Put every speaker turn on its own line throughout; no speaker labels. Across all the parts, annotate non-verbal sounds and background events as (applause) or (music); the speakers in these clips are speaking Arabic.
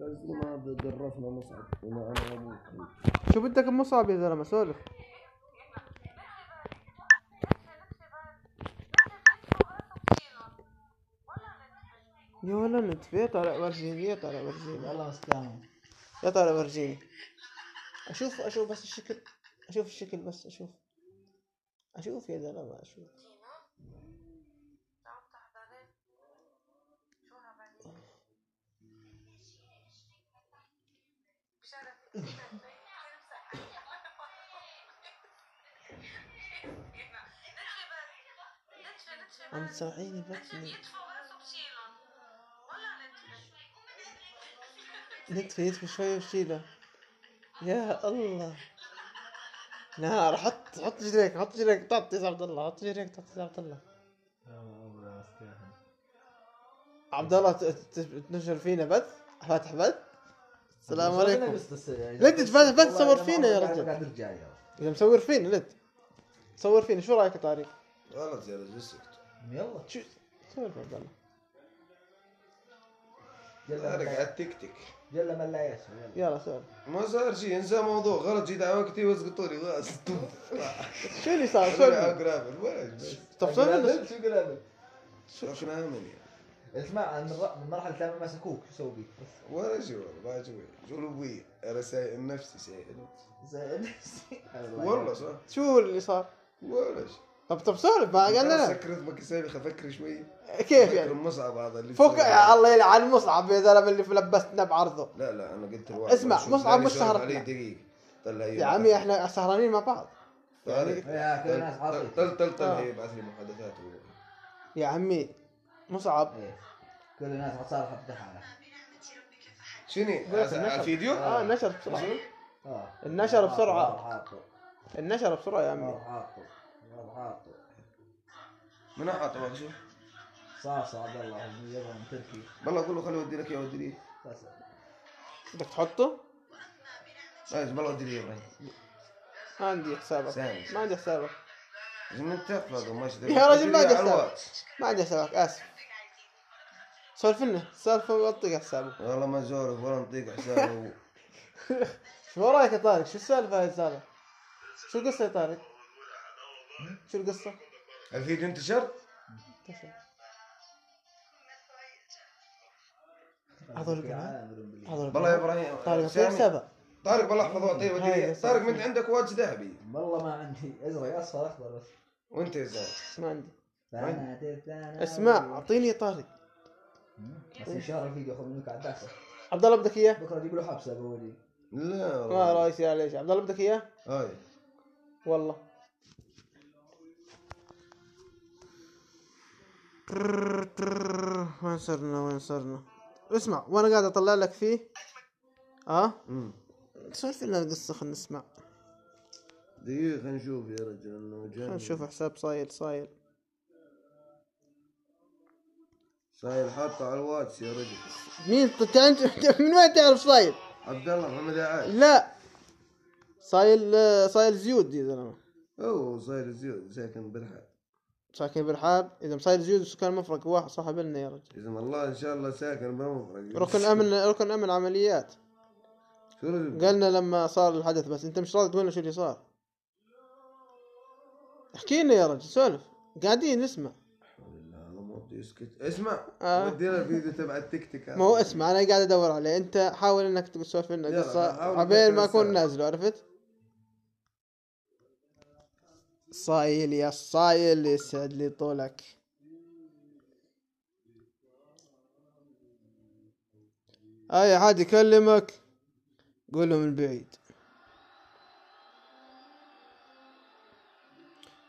زي ما درفنا مصعب وما انا وابوك
شو بدك مصعب يا زلمه سولف يا ولد يا طارق برجيني يا طارق برجيني
خلاص تمام
يا طارق برجيني اشوف اشوف بس الشكل اشوف الشكل بس اشوف اشوف يا زلمه اشوف عم تسمعيني بس نتفي نتفي شوي وشيله يا الله نار حط حط جريك حط جريك تعطي عبد الله حط جريك تعطي عبد الله عبد الله ت- ت- تنشر فينا بث فاتح بث السلام عليكم
يعني.
لا تتفاتح بث تصور فينا يا رجل
قاعد ارجع يا
اذا مصور فينا لا صور فينا شو رايك يا طارق؟
غلط يا رجل اسكت
يلا
شو صور يا عبد الله
يلا
طارق
من
على
لا-
التيك
يلا من لا يسهو يلا
يلا صور
ما صار شيء انسى موضوع غلط جيت على وقتي واسقطوني
(laughs)
خلاص
شو اللي صار؟
انا على
صور
قرابل ولا
طب صور لنا.
قلبت طيب، شو قلبت
شفنا عمل يعني
اسمع من الر- من المرحله الثانيه مسكوك شو سوي بيك بس
ولا شيء والله ما شوي جنوبية انا سايق نفسي سايق
زي (laughs) نفسي
والله صح
شو اللي صار؟
ولا شيء
طب طب سولف ما قال
أنا
لنا
سكرت مكسابي افكر شوي
كيف
فكر
يعني؟
المصعب هذا اللي
فوق
بسوي.
يا الله يلعن مصعب يا زلمه اللي لبستنا بعرضه
لا لا انا قلت الواحد
اسمع،
شوف
مصعب
لاني
مش
شارب
سهرتنا.
عليه دقيقة طلع هي
يا عمي احنا سهرانين مع بعض
طارق
يا كل الناس
طل
عاطيك
طل طل طل
آه.
هي بعث لي طيب، محادثات والله.
يا عمي مصعب
إيه. كل الناس عصار حتى حالك
شنو
بس
على
نشر.
الفيديو
اه نشر بسرعه
شنو؟
اه
النشر بسرعة.
حاطه
النشر بسرعه يا عمي
حاطه حاطه حاطه
من حاطه شوف
صاصة عبد الله يلا من تركي
والله اقول له خليه اودي لك يا اودي لي
صاصة
بدك تحطه؟
ماشي والله اودي طيب، لي يا ابراهيم
ما عندي حسابك
سامي.
ما عندي حسابك
لازم انت تحفظه ماشي
يا رجل ما
على
قصرت.
الواتس.
ما عندي حسابك اسف سولف لنا سالفه وطق حسابه
والله ما زورك ولا نطيق
(laughs)
حسابه
شو رايك يا طارق؟ شو السالفه هاي الزلمه؟ شو القصه يا طارق؟ شو القصه؟
الفيديو انتشر؟
هذول البنات؟ هذا
والله يا ابراهيم
طارق طيب،
سامي.
فين حسابه؟
طارق والله احفظه اعطيه ودي
هاي
لي.
يا
طارق
سامي.
من عندك واتش ذهبي
والله ما عندي ازرق اصفر اخضر بس
وانت يا زلمه
ما عندي
فأنا أتيت أنا
اسمع
أول.
اعطيني يا طارق
بس ان شاء الله الفيديو ياخذ منك عداسة
عبد الله بدك اياه؟
بكره يجيب له حبسه بولي
لا
ما
والله
رايك يا ليش عبد الله بدك اياه؟
هاي
والله وين صرنا وين صرنا اسمع وانا قاعد اطلع لك فيه اه
أمم.
سولف لنا القصه خلينا نسمع
دقيقة خلينا نشوف يا رجل انه جاي
خلينا نشوف حساب صايل صايل
صاير حاطه على الواتس يا رجل
مين تعرف (laughs) من وين تعرف صايل؟
عبد الله محمد عاد
لا صايل صايل زيود يا زلمه
اوه صاير زيود ساكن بالحال
ساكن برحاب اذا صايل زيود سكان مفرق واحد صاحب لنا يا رجل
اذا الله ان شاء الله ساكن بمفرق
ركن امن ركن امن عمليات
شو رجل
قالنا لما صار الحدث بس انت مش راضي تقول لنا شو اللي صار احكي لنا يا رجل سولف قاعدين نسمع
لا ما بدي يسكت اسمع
آه.
ودي له الفيديو تبع التيك تيك
ما هو اسمع انا قاعد ادور عليه انت حاول انك تسولف لنا
يلا،
قصه
حاول
عبين ما
تذكر
اكون
السالفة.
نازله عرفت صايل يا صايل يسعد لي طولك اي آية، حد يكلمك قول له من بعيد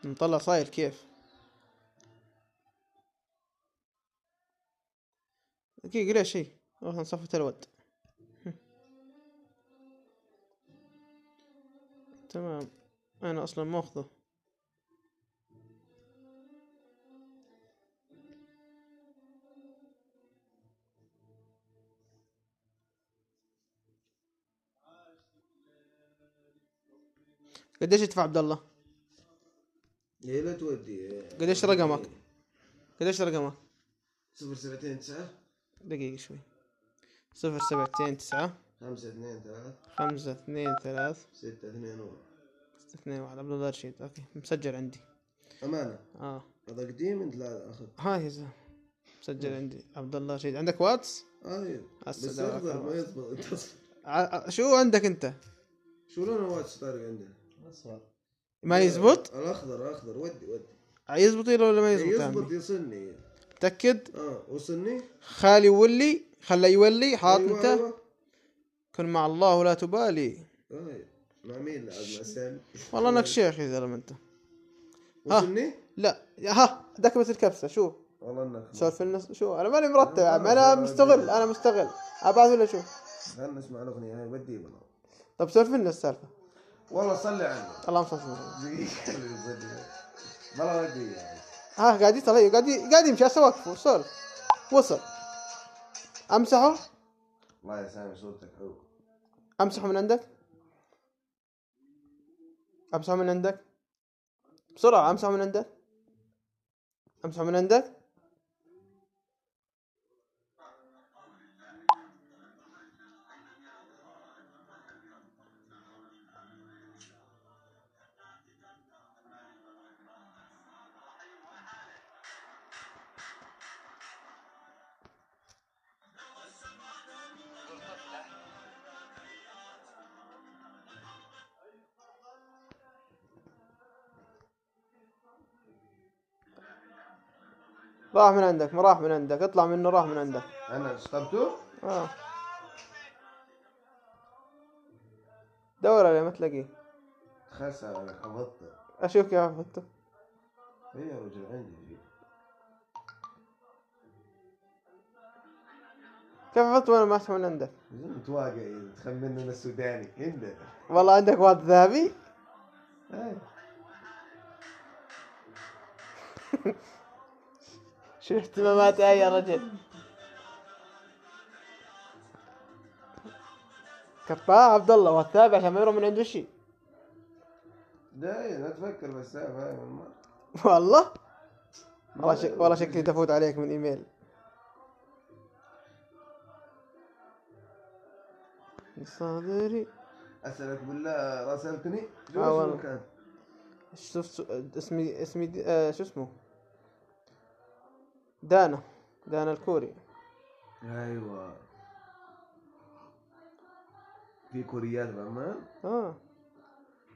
نطلع صايل كيف دقيقة ليش هي روح نصفة الود تمام انا اصلا ماخذه قديش يدفع عبد الله؟
يا إيه، لا تودي
قديش رقمك؟ قديش رقمك؟
079
دقيقة شوي صفر سبعتين تسعة
5 2 3
خمسة اثنين ثلاث
6 2 1
اثنين واحد عبد الله رشيد اوكي مسجل عندي
امانه
اه
هذا قديم انت لا اخذ
هاي يا زلمة. مسجل عندي عبد الله رشيد عندك واتس؟
اي أيوه. بس
السلام
اخضر
عليكم.
ما يضبط أنت أصلاً.
ع- ع- شو عندك انت؟
شو لون الواتش طارق عندنا؟
اصفر
آه.
ما يزبط؟
الاخضر اخضر ودي ودي
يزبط يلا ولا ما يزبط؟ يعني. يا عمي؟
يزبط يصني
متأكد؟
اه وصلني
خالي ولي خله يولي حاط
أيوة،
انت
أيوة.
كن مع الله ولا تبالي
آه، مع مين لعب مع سامي
والله
أيوة.
انك شيخ يا زلمه انت
وصلني
لا يا ها دكبة الكبسة شو
والله انك
سولف لنا شو انا ماني مرتب يا عم انا مستغل انا مستغل ابعث ولا شو
خلنا نسمع الاغنيه هاي ودي والله
طب سولف لنا السالفة
والله صلي على
اللهم صل وسلم
النبي. دقيقة اللي يصلي. والله ودي يعني
ها قاعد يطلع أيوه، قاعد ي- قاعد يمشي هسه وقفه سولف وصل امسحه
الله يا سامي صورتك حلوه
امسحه من عندك امسحه من عندك بسرعة امسحه من عندك امسحه من عندك راح من عندك راح من عندك اطلع منه راح من عندك
انا شطبته
اه دور عليه ما تلاقيه
خسر انا حفظته
اشوف كيف عرفته
اي إيه يا رجل عندي جيب
كيف عرفته وانا ما اسمع من عندك
متواقع تخمن انا السوداني عندنا
والله عندك واد ذهبي
اي
شو اهتماماتي هاي يا رجل قطاع عبد الله واد ذهبي عشان ما يروح من عنده شيء
داي لا تفكر بالسالفه هاي والله
(laughs) والله والله شك... والله شكلي تفوت عليك من ايميل صدري
اسالك بالله راسلتني
آه
شو
والله.
اسمه كان
شوف سو- اسمي اسمي د- آه شو اسمه دانا دانا الكوري
ايوه في كوريات بعمان
اه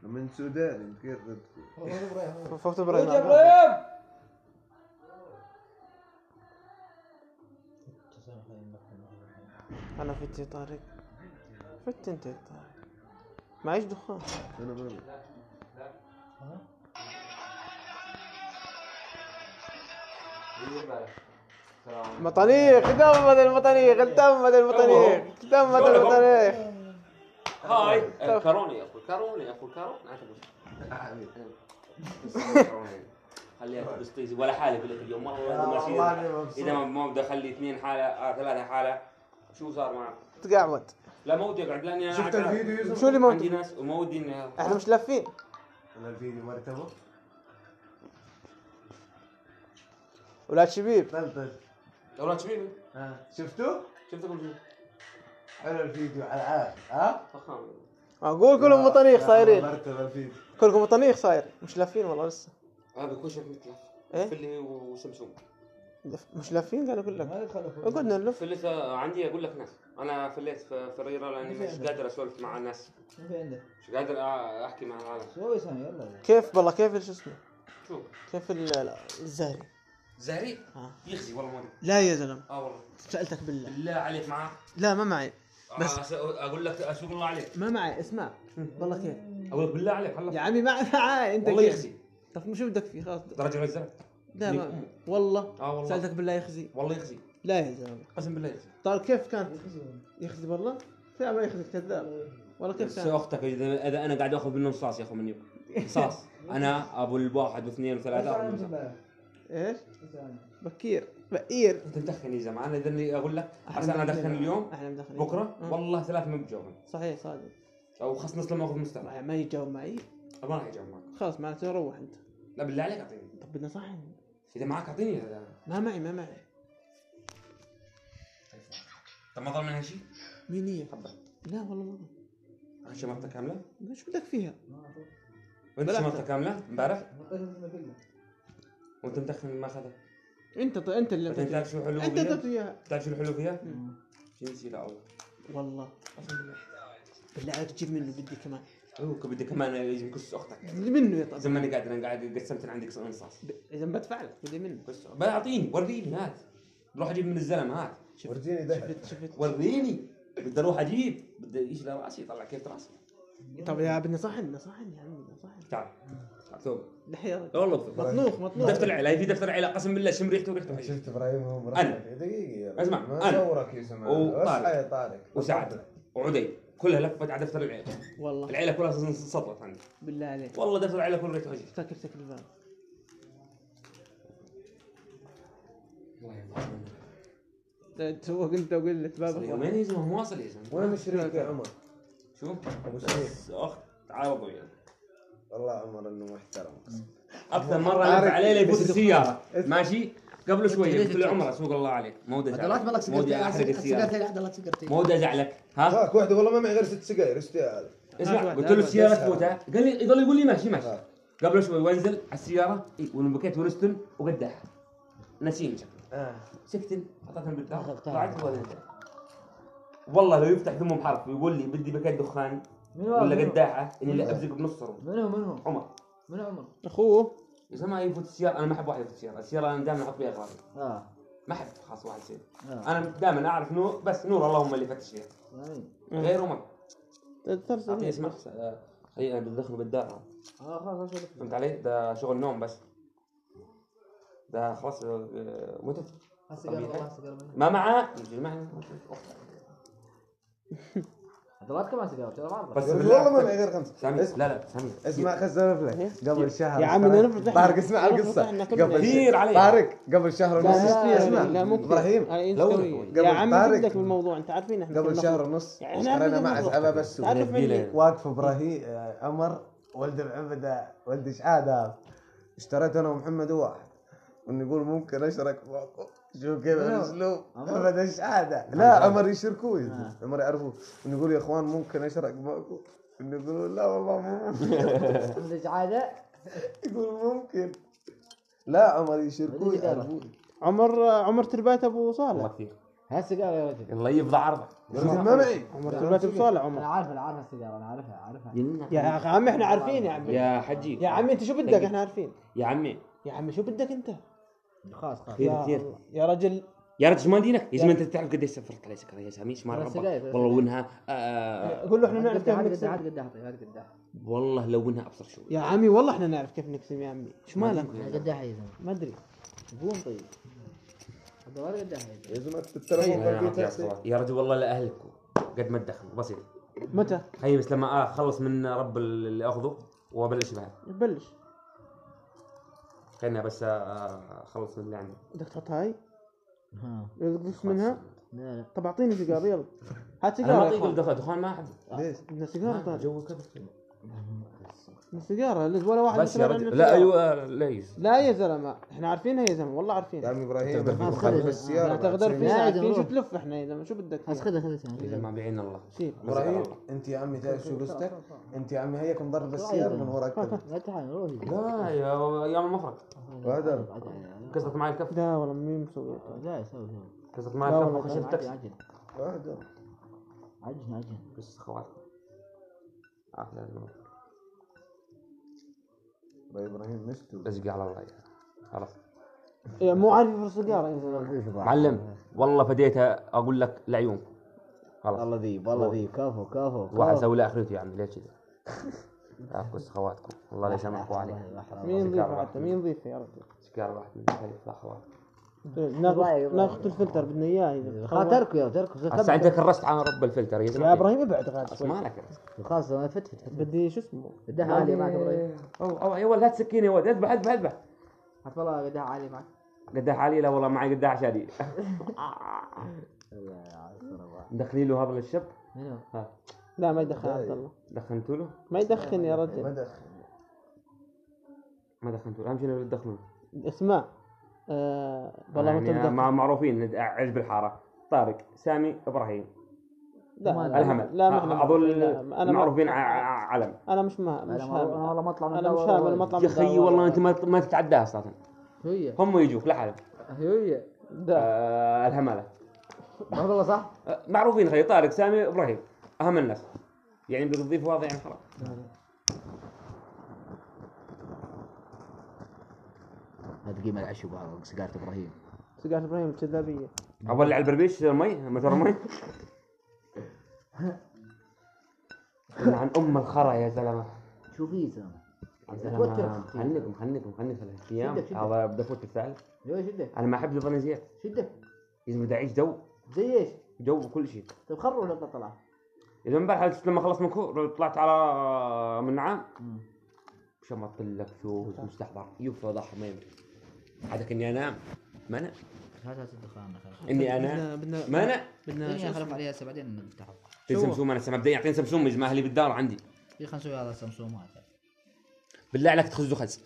من سودان انت كيف تذكر
والله ابراهيم
ف- فوت
ولد
ابراهيم
ابراهيم
انا فت يا طارق فت انت يا طارق معيش دخان
انا ما
ها؟
مطاريق تمت المطاريق تمت المطاريق تمت المطاريق
هاي الكاروني يا اخوي كاروني يا اخوي كاروني اعتبر
حبيبي
خليها تلبس طيزي ولا حالي قلت اليوم والله
يا
لازم
والله
أشيل.
أنا مبسوط.
اذا ما- ما بدي اخلي اثنين حاله آه ثلاثه حاله شو صار معك؟
تقعود
لا ما ودي اقعد لاني انا
شفت
أقعد.
الفيديو يوسف؟
شو اللي ما
عندي
ودك؟
ناس وما ودي اني
احنا مش لافين
انا الفيديو مرتبه
ولاد شبيب
طلطش
اولاد شبيبي
ها شفتوا؟
شفتكم شو؟
حلو الفيديو على آه. العاف ها؟
فخام
اقول كلهم مطاريق صايرين
مرتبه الفيديو
كلكم مطاريق صاير مش لافين والله لسه
هذا كل شيء مثله
إيه؟
فلي وسمسوم
مش لافين قال اقول لك
ما يخالف
قلنا نلف
فلت عندي اقول لك ناس انا فليت في في الريره لاني مش قادر اسولف مع الناس
ما في عندك
مش قادر أ- احكي مع العالم
شو يا سامي يلا
كيف والله كيف شو اسمه
شو
كيف ال- ال- الزهري
زهري
آه.
يخزي والله ما أدري.
لا يا زلمه
اه والله
سالتك بالله
بالله عليك معاه
لا ما معي بس-
بس اقول لك اشوف الله عليك
ما معي اسمع والله كيف
اقول لك بالله عليك خلاص
يا عمي ما معي انت
والله
كيف؟
يخزي
طب شو بدك فيه خلاص
درجه نزلت
لا ما
أمي.
والله
اه والله
سالتك بالله يخزي
والله يخزي
لا يا زلمه
قسم بالله يخزي
طال كيف كانت يخزي والله لا ما يخزي كذاب والله كيف
بس
كانت
اختك اذا اذا انا قاعد اخذ منه رصاص يا اخو مني
(laughs)
رصاص انا ابو الواحد واثنين وثلاثه أخذ منه رصاص.
ايش بكير بكير
انت مدخن يا زلمه انا اذا إني اقول لك عشان انا ادخن اليوم
احنا مدخنين
بكره
أه.
والله ثلاث ما بيجاوبون
آه. صحيح صادق
او خص نص لما اخذ مستقبل
ما ما يتجاوب معي
ما راح يجاوب معك
خلاص معناته روح انت
لا بالله عليك اعطيني
طب بدنا صحن
اذا معك اعطيني هذا
ما معي ما معي
طب ما ظل منها شيء
مين هي؟
حبة
لا والله ما
شمرتها كاملة؟
ما شو بدك فيها؟
وانت
بلا
شمرتها كاملة امبارح؟
كله
وانت مدخن ما اخذها
انت انت اللي
بعدين
انت
تعرف شو الحلو
انت
فيها؟
اياها
تعرف شو الحلو فيها؟ جنسي لا والله
والله
قسم بالله.
بالله عليك جيب منه بدي كمان
هو بدي كمان يجي يكس اختك
بدي منه يا طب
زي ما انا قاعد انا قاعد قسمت إن عندي قصاص
ب- اذا بدفع لك بدي منه
بس اعطيني وريني هات روح اجيب من الزلمه هات شوف
ورجيني ده
شفت شفت
وريني بدي اروح اجيب بدي ايش لراسي يطلع كيف راسي
طب يا بدنا صحن بدنا صحن يا عمي بدنا صحن
تعال ثوب
دحيرك
لا والله بثوب.
مطنوخ مطنوخ
دفتر العيله في دفتر العيله قسم بالله شم ريحته وريحته
أنا
حلوة.
شفت ابراهيم هو مرحب.
أنا.
دقيقه يا رجل.
اسمع،
ما
أنا.
صورك يا زمان
وطارق.
اصحى يا طارق
وسعد وعدي كلها لفت على دفتر العيله
والله
العيله كلها سطرت عندي
بالله عليك
والله دفتر العيله كله ريحته حلوة.
افتكر افتكر الباب
الله يعينك.
تسوق انت وقلت بابك
وين يا زلمه مو واصل يا زلمه
وين الشريك يا عمر؟
شو
أبو شريك.
بس اخت تعارضوا يعني
والله عمر انه محترم
اكثر مره عرف عليه ليفوت السياره ماشي قبل شويه قلت له
ليش
عمر اسوق الله عليك ما ودي
هذولات
ازعلك
مالك
ما ودي احرق
سيجارتين
السياره
سيجارتين واحده لك سيجارتين
ما ودي ازعلك ها
هاك واحده والله ما معي غير ست سجاير استاذ
اسمع
واحد، هات
قلت له
واحد.
السياره تفوتها قال لي قال لي يقول لي ماشي ماشي
ها.
قبل شوي وانزل على السياره إي، ونبكيت ونستن وقداح ناسيني شكله
اه
سكتن حطيتها بالدار
أخذتها.
طلعت ونزلت والله لو يفتح ذمه بحرف ويقول لي بدي بكيت دخان
من
أيوة،
هو؟
ولا
من هو؟
قداحه اني لا ابزق بنص رب.
من هو من هو؟
عمر
من عمر؟
اخوه
يا زلمه يفوت السياره انا ما احب واحد يفوت السياره السياره انا دائما احط فيها اغراضي
اه
ما احب خلاص واحد يصير
اه
انا دائما اعرف نور بس نور اللهم اللي فتش فيها
آمين.
غيره ما اعطيه
ترسل
اسمع أه، خليه انا بدخل بالدار
اه خلاص خلاص
فهمت علي؟ ده شغل نوم بس ده خلاص آه، متت
السيجاره والله السيجاره من هو؟
ما معاه يجي معنا
هذولات كمان سيجاره ترى ما اعرف
بس
والله ما
بالله
معي غير خمسه
سامي
اسمع
لا لا سامي
اسمع خزان فلك قبل شهر
يا عم
ترى-
أنا فتحنا-
طارق اسمع
أنا
القصه
فتحنا كلنا.
قبل
كثير علي.
طارق قبل شهر ونص
لا
اسمع
مو كثير.
ابراهيم
أنا إنت
لو-
قوي.
قبل
يا عم
طارق.
بدك بالموضوع انت عارفين احنا
قبل
كنا
شهر
ناخذ-
ونص
يعني إحنا
اشترينا
عندنا
مع
نخلص.
زعلة بس
تعرف مني
ليلة.
واقف ابراهيم آه، عمر ولد العبده ولد شحاد هذا اشتريت انا ومحمد واحد انه يقول ممكن اشرك معكم شو كيف
لا.
الاسلوب
عمر.
ابدا شحاده لا عمر آه. يشركوه عمر يعرفوه انه يقول يا اخوان ممكن اشرك معكم انه يقولوا لا والله مو (laughs) ممكن
من الاجعاده
يقول ممكن لا عمر يشركوه
بدي جدارة.
يعرفوه
عمر عمر تربات ابو
والله
صالح
كثير
ها السيجاره يا رجل
الله يفضى عرضه
يقول ما معي
عمر تربات ابو صالح
انا
عمر
عارف انا عارف السيجاره انا عارفها عارفها
يا عمي احنا عارفين يا عمي
يا حجي
يا عمي انت شو بدك احنا عارفين
يا عمي
يا عمي شو بدك انت
خلاص خلاص
كثير
يا
كثير
الله. يا رجل
يا رجل شو ما دينك يا زلمه انت تعرف قديش سفرت علي سكر يا سامي ايش ما
ثلاث
ربك
دقايق، ثلاث
والله
دقايق.
وانها آه،
كله احنا نعرف كيف
قد
نقسم
عاد قد
طيب،
اعطي عاد قد اعطي
والله لو انها ابصر شوي
يا عمي والله احنا نعرف كيف نقسم يا عمي شو مالك
قد اعطي يا زلمه
ما ادري
قوم طيب هذولات قد اعطي
يا زلمه في التلفون
يا رب يا
بقيت
أخوان. يا رجل والله لاهلك قد ما تدخل بسيط
متى
هي بس لما اخلص من رب اللي اخذه وابلش بها
بلش
خلينا بس آه، اخلص من اللي عندي
بدك تحط هاي
ها
بدك تقص منها
لا لا
طب اعطيني سيجاره يلا هات
انا ما
سيجاره يا
اطيق
اخوان
الدخان دخان ما احب
ليش؟
بدنا سيجاره طارق
جو كذا
بدنا سيجاره لازم ولا واحد
بس يا
يسأل عن
رجل
السيجارة.
لا ايوه لا يجوز
لا يا زلمه احنا عارفينها يا زلمه والله
يا
عارفينها
عمي ابراهيم
تغدر
بس
فينا.
خلي في
لا
السياره
تغدر
بعد.
فينا
لا يا
عارفين شو
جماعة.
تلف احنا يا زلمه شو بدك
بس خذها خذها
اذا ما بعين الله
شيل
مزعل
ابراهيم
الله.
انت يا عمي تعرف شو قصتك؟ انت يا عمي هيك مضرب السياره من وراك كذا.
لا تعال روح
لا يا ايام المفرق
وهذا
كسرت معي الكف
لا والله مين مسويها
لا سوي سوي
كسرت معي
لا والله
الكف
عجن
خشيت التاكسي
عجن
وهذا
عجن عجن
بس خواتي آه، لا، لا.
ابراهيم مشتو
رزقي على الله يا. خلاص
يا مو عارف يفرس سيجاره يا زلمه
معلم
آه.
والله فديتها اقول لك لعيونكم خلاص
والله ذيب والله ذيب كفو كفو
واحد سوي له اخرته يا عمي يعني ليش
(laughs)
كذا عفوا اخواتكم الله لا يسامحكم عليه
مين يضيفها حتى مين يضيفها يا رجل
سكار واحد من الخليفه اخوات
ناخذ ناخذ الفلتر بدنا اياه اذا
خلاص تركه يا تركه
هسه انت كرست على رب الفلتر يا زلمه
يا ابراهيم ابعد غاد
بس
شوي
ما لك رأس.
خلاص انا فت فت فت
بدي شو اسمه
قدها عالية معك يا ابراهيم
او او يعني يا ولد لا تسكيني يا ولد اذبح اذبح اذبح
حط والله قدها عالية معك
قداح علي لا والله معي
(laughs)
قداح شادي (laughs) دخلي له هذا للشب
منو؟
ها
لا ما يدخن عبد الله
دخنت له
ما يدخن يا رجل
يعني ما دخنت له اهم شيء انه تدخلوا
اسمع آه والله ما
يعني
تبدا
مع معروفين ند- عجب الحاره طارق سامي ابراهيم
لا
ما
لا،
الهمل
لا مغلم
اظل
لا، أنا
معروف
ما-
بين ع- ع- علم
انا مش ما
انا
مش
ما- أنا
هامل
والله ما اطلع من
انا مش
الدورة
هامل
ولا
ما اطلع
يا اخي والله انت ما ما تتعداها اصلا
هي
هم يجوك لحالك
هي
لا
آه، الهمله
عبد الله صح؟
آه، معروفين خي طارق سامي ابراهيم اهم الناس يعني بدك تضيف واضح يعني خلاص
هذا قيمة العشب هذا سيجارة ابراهيم
سيجارة ابراهيم الكذابية
اولع البربيش المي مجرى المي
(laughs)
عن ام الخرا يا زلمه
شو في سلام؟
يا
توتر
زلمه
أختي.
خلني خلنك خلنك ثلاث ايام
شدك- شدك.
هذا بدي افوت الثالث
ليش شدك؟
انا ما احب الظن زياد
شدك؟
لازم بدي اعيش جو
زي ايش؟
جو بكل شيء
طيب خروا ولا طلع؟
اذا امبارح لما خلصت من كور طلعت على من نعام شمط لك فوز مستحضر يفضح ما يمكن عادك اني انام ما انا
هذا الدخان خلاص
اني انا
بدنا
ما انا
بدنا
الدنيا
شو
خرب
اسمه؟
عليها هسه بعدين نفتح الحلقة.
في
شو؟
سمسوم انا هسه مبدئيا يعطيني سمسوم يا جماعه اللي بالدار عندي
في خلنا نسوي هذا سمسوم هذا
بالله عليك تخزوا خز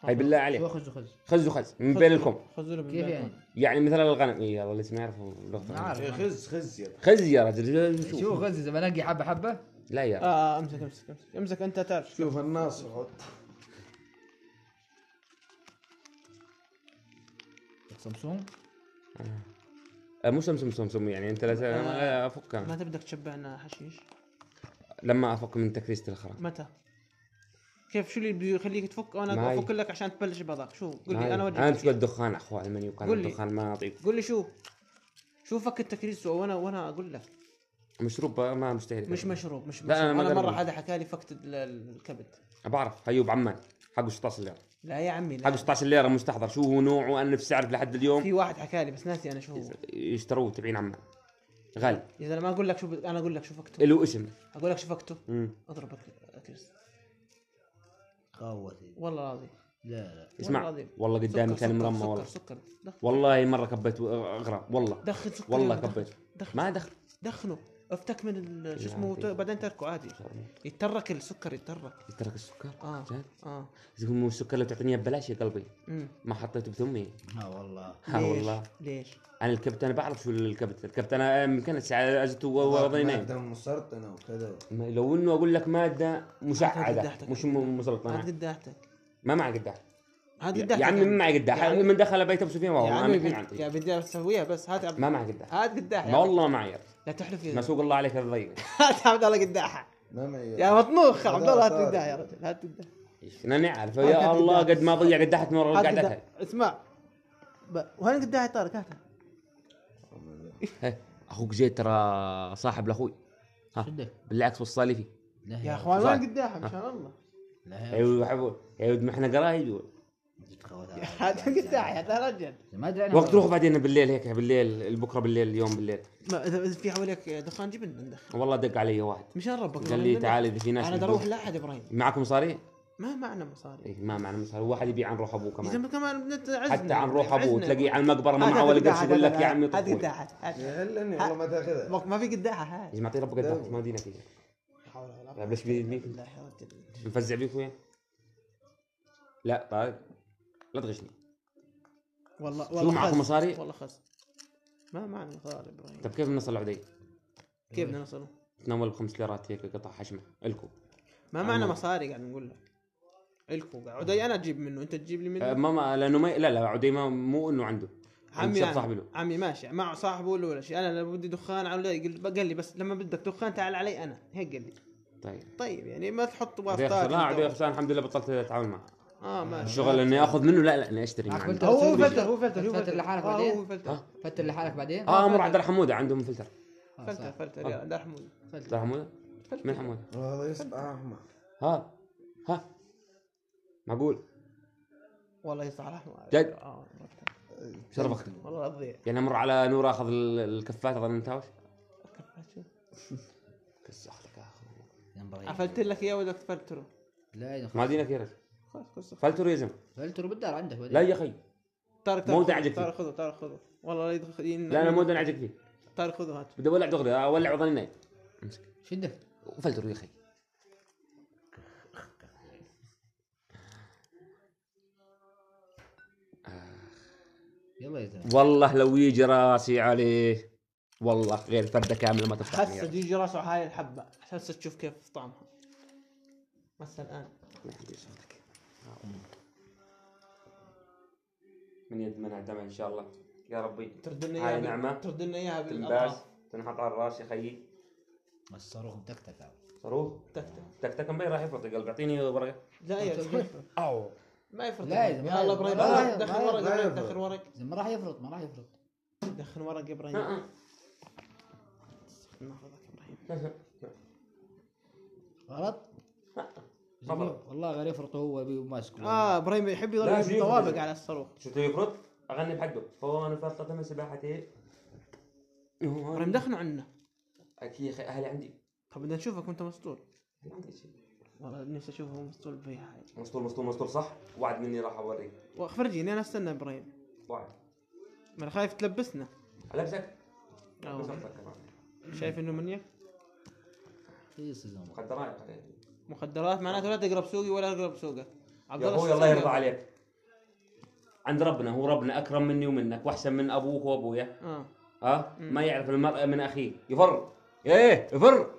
هاي بالله
شو
عليك
خز وخز
خزوا خز من بين الكم
خذوله من
كيف
بينكم.
يعني؟
يعني مثلا الغنم اي والله لسه ما يعرفوا اللغه الغنم.
عارف
خز خز يا
خز يا رجل
شو
شوف
خز اذا بنقي حبه حبه
لا يا رجل.
اه آه، امسك امسك امسك امسك انت تعرف
شوف الناس يحط
سمسوم
آه، مو سمسم سمسم يعني انت لا- لا افكها
متى بدك تشبعنا حشيش؟
لما افك من تكريسه الخرا
متى؟ كيف شو اللي بده يخليك تفك
معي.
انا افك لك عشان تبلش بهذاك شو قول لي
هاي.
انا
انا
وجهك
بشوف الدخان اخوان من يقال
قول لي.
الدخان ما اطيق
قول لي شو شو فك التكريس وانا وانا اقول لك
مشروب آه، ما مستحيل
مش مشروب مش
لا،
مشروب.
أنا ما
انا مره
أقرب.
حدا حكى لي فكت ال- الكبد
بعرف هيوب عمان حقه 16 ليره
لا يا عمي
حقه
لا
16 ليره مستحضر شو هو نوعه انا نفسي اعرف لحد اليوم
في واحد حكى لي بس ناسي انا شو هو
يشتروه تبعين عمان غالي
يا زلمه اقول لك شو ب- انا اقول لك شو فكته
له اسم
اقول لك شو فكته
مم.
اضرب الكريس
قوتي
والله العظيم
لا لا
اسمع
العظيم.
والله قدامي
سكر،
كان
سكر،
مرمى
سكر
والله
سكر دخ-
والله مره كبيت اغرب والله
دخن سكر
والله
يلا، دخن.
كبيت
دخن
ما دخل
دخنه افتك من ال- شو
يا
اسمه
عمي.
بعدين تركه عادي يترك السكر يترك
ترك السكر
اه
جد؟
اه
إذا هو السكر لو تعطيني إياه ببلاش يا قلبي
امم
ما حطيته بثمي
ها والله
ها
ليش؟
والله
ليش؟
انا الكبت انا بعرف شو الكبت الكبت انا يمكن اجته وضعي نايم
مادة مسرطنة وكذا
ما- لو انه اقول لك ماده
قداحتك.
مشعده مش م-
عاد
مسلطنه
قداحتك
ما معي قداح
عاد
يا
قداحتك يعني.
يا عمي ما معي
يا
قداح
عمي-
من دخل بيت ابو سفيان
يا
والله
عمي
انا الحين
بد- يعني يا
عندي
بدي اسويها بس هات عبد
ما معي قداح
هات قداح يا
ما
عمي.
والله ما عير
لا تحلف
ما
(laughs) يا
سوق الله عليك الضيق
هات عبد الله قداحه
ما معي
يا مطنوخ عبد الله هات
صار.
قداح يا رجل هات قداح
انا اعرف
هات
يا
قداح.
الله قد ما ضيع قداحت مره
هات قداح.
قعدتها
اسمع ب- وين قداح يا طارق هاتها
هي، اخوك جاي ترى صاحب لاخوي ها
شدك
بالعكس وصالي فيه
لا
يا
يا
اخوان
صح.
وين قداحها مشان الله (laughs) أيوة.
لا يا
ايوه حبوا ايوه ما احنا قرايب دول.
هات قداح يا رجل
ما ادري انا
وقت روح بعدين بالليل هيك بالليل بكره بالليل اليوم بالليل
ما اذا إذا في حواليك دخان جيب لنا ندخن
والله دق علي واحد
مشان ربك
قال لي تعال اذا في ناس
انا بدي
بتدور.
اروح لاحد ابراهيم
معكم مصاري؟
ما معنا مصاري
إيه ما معنى مصاري واحد يبيع عن روح ابوه
يا
كمان
زلمه كمان بنتعزنا
حتى عن روح ابوه تلاقيه على المقبره ما معه ولا قرش يقول لك يا عمي
هات
طفولي
قداحه هات.
يا هلني والله ما تاخذها
وقت ما في قداحه هات
يا معطي ربك قدامك إيه، ما دينا فيه
لا حول ولا قوة
لا، بس بي- بي-
بالله يا رجل.
نفزع بيك وياه لا طارق لا تغشني
والله
شو
والله
معكم
خز.
مصاري؟ طيب،
والله خز ما معنا مصاري ابراهيم
طب كيف نصل العدي؟
كيف بدنا نوصله؟
تناول بخمس ليرات هيك قطع حشمه الكم
ما
أنا
معنا
ما-
مصاري قاعد نقول لك الكو قاعد عدي انا اجيب منه انت تجيب لي
آه،
منه
ما ما لانه ما لا لا عدي ما مو انه عنده عند
إيه. عمي
شاب
أنا.
صاحبي له
عمي ماشي مع صاحبه ولا ولا شيء انا لو بدي دخان على قال قال لي بس لما بدك دخان تعال علي انا هيك قال لي
طيب
طيب يعني ما تحط
عدي
واسطات
خسران عدي
أنت.
خسران الحمد لله بطلت اتعامل معه
اه ماشي
الشغل اني اخذ منه لا لا اني اشتري من
عقبال
عنده
هو هو
تسوي
فلتر هو فلتر هو
تفتر
فلتر
لحالك
آه،
بعدين؟
هو فلتر
ها؟
فتر لحالك بعدين
اه امر عبد الحموده عندهم فلتر
آه، صح.
فلتر فلتر يا ده حمود
عبد الحموده طيب، من حموده
والله يصبح احمر
ها ها معقول
والله يصلح احمد
جد؟
آه،
شرفك
والله لا تضيع
يعني امر على نور اخذ ال- الكفات اظن نتاوش
ينبغي.
قفلت لك اياه ولا تفلتره
لا يا أخي.
ما دينك يا رجل
خلاص خلاص
فلتر يا زلمه
فلتر بالدار عندك بعدين.
لا يا اخي
طارق طارق
مو
خذه،
دعجك
طارق خذه طارق خذه والله لا يدخل
لا انا مو دنعجك فيه
طارق خذه هات
بدي اولع دغري اولع وظني نايم
شدك
فلتر يا اخي
يلا يا زلمه
والله لو يجي راسي عليه والله غير فرده كامله ما تفتح
حس يجي راسه هاي الحبه حس تشوف كيف طعمها بس الان
من يد منع دمع ان شاء الله يا ربي
ترد لنا
هاي
اياها
نعمة.
بال- ترد لنا اياها
تنباس
بالاطراف
تنحط على الراس يا خيي
الصاروخ متكتك
صاروخ
تكتك
تك تك ما راح يفرط القلب اعطيني ورقه
لا يا زلمة.
او
ما يفرق
لا يا
يا
زلمة.
الله ابراهيم
ما
دخل-
يفرق.
دخل
ما
ورق
يفرق.
ابراهيم دخل ورق
ما راح يفرط ما راح يفرط
دخل ورق ابراهيم
آه،
ناخذك ابراهيم
آه.
غلط
تفضل.
جميل. والله غير يفرط هو بي- ماسكه
اه ابراهيم يحب
لا،
يضرب
شوف.
طوابق على الصاروخ
شفته يفرط اغني بحقه فون فرطت من سباحتي
ابراهيم دخلوا عنا
اكيد يا أخي، اهلي عندي
طب بدنا نشوفك وانت مسطول
ما عندي شيء
والله نفسي اشوفه مسطول بيها هاي
مسطول مسطول مسطول صح وعد مني راح اوريك
وفرجيني انا استنى ابراهيم
وعد
ما انا خايف تلبسنا
البسك
أو-
مسطك كمان.
شايف انه منيك
في صدام
مخدرات عليك.
مخدرات معناته لا تقرب سوقي ولا اقرب سوقك عبد
يا ابوي
الشو
الله
تسوي؟
يرضى عليك عند ربنا هو ربنا اكرم مني ومنك واحسن من ابوك وابويا
اه
ها ما يعرف المرء من اخيه يفر ايه يفر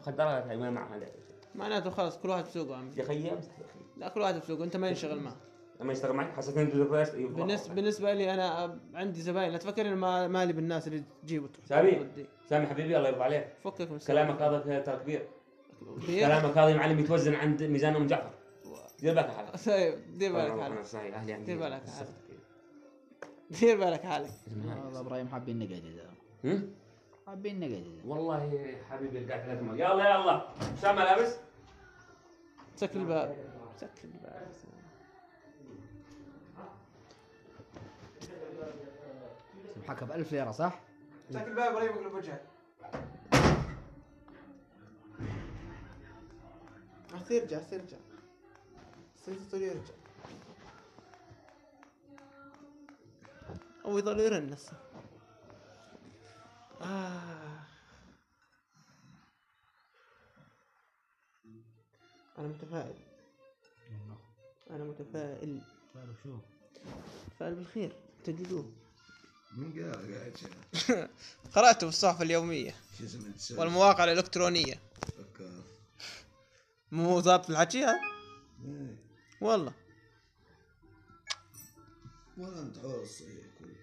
مخدرات هاي ما معها لعب.
معناته خلاص كل واحد بسوقه عمي
يا خيي امسك يا اخي
لا كل واحد بسوقه انت ما ينشغل معه
لما يشتغل معك حسيت اني
بالنسبه بالنسبه لي انا أب- عندي زباين لا تفكر إن ما- مالي بالناس اللي تجيب وتحط
سامي
ودي.
سامي حبيبي الله يرضى عليك
فكك من السوق.
كلامك هذا فيه ترى كبير
كيف؟
كلامك هذا يا معلم يتوزن عند ميزان ام جعفر دير بالك على حالك
(laughs) طيب دير بالك
انا
حالك
صحيح اهلي عندي
دير بالك على حالك. دير بالك حالك
والله ابراهيم حابين نقعد يا زلمه
هم؟
حابين نقعد يا زلمه
والله حبيبي قاعد ثلاث مرات يلا يلا سامة لابس
سكر الباب سكر الباب
سمحك ب 1000 ليره صح؟
سكر الباب ابراهيم اقلب وجهك عسى يرجع عسى يرجع صرت يرجع او يظل يرنس آه. انا متفائل انا متفائل
تعرف شو؟
متفائل بالخير تجدوه
من قاعد قاعد شنو؟
قرأته في الصحف اليومية
شو اسمه انت سوي؟
والمواقع الإلكترونية
فكر.
مو ضابط الحكي هذا
إيه.
والله
ولا انت حول الصحيح كله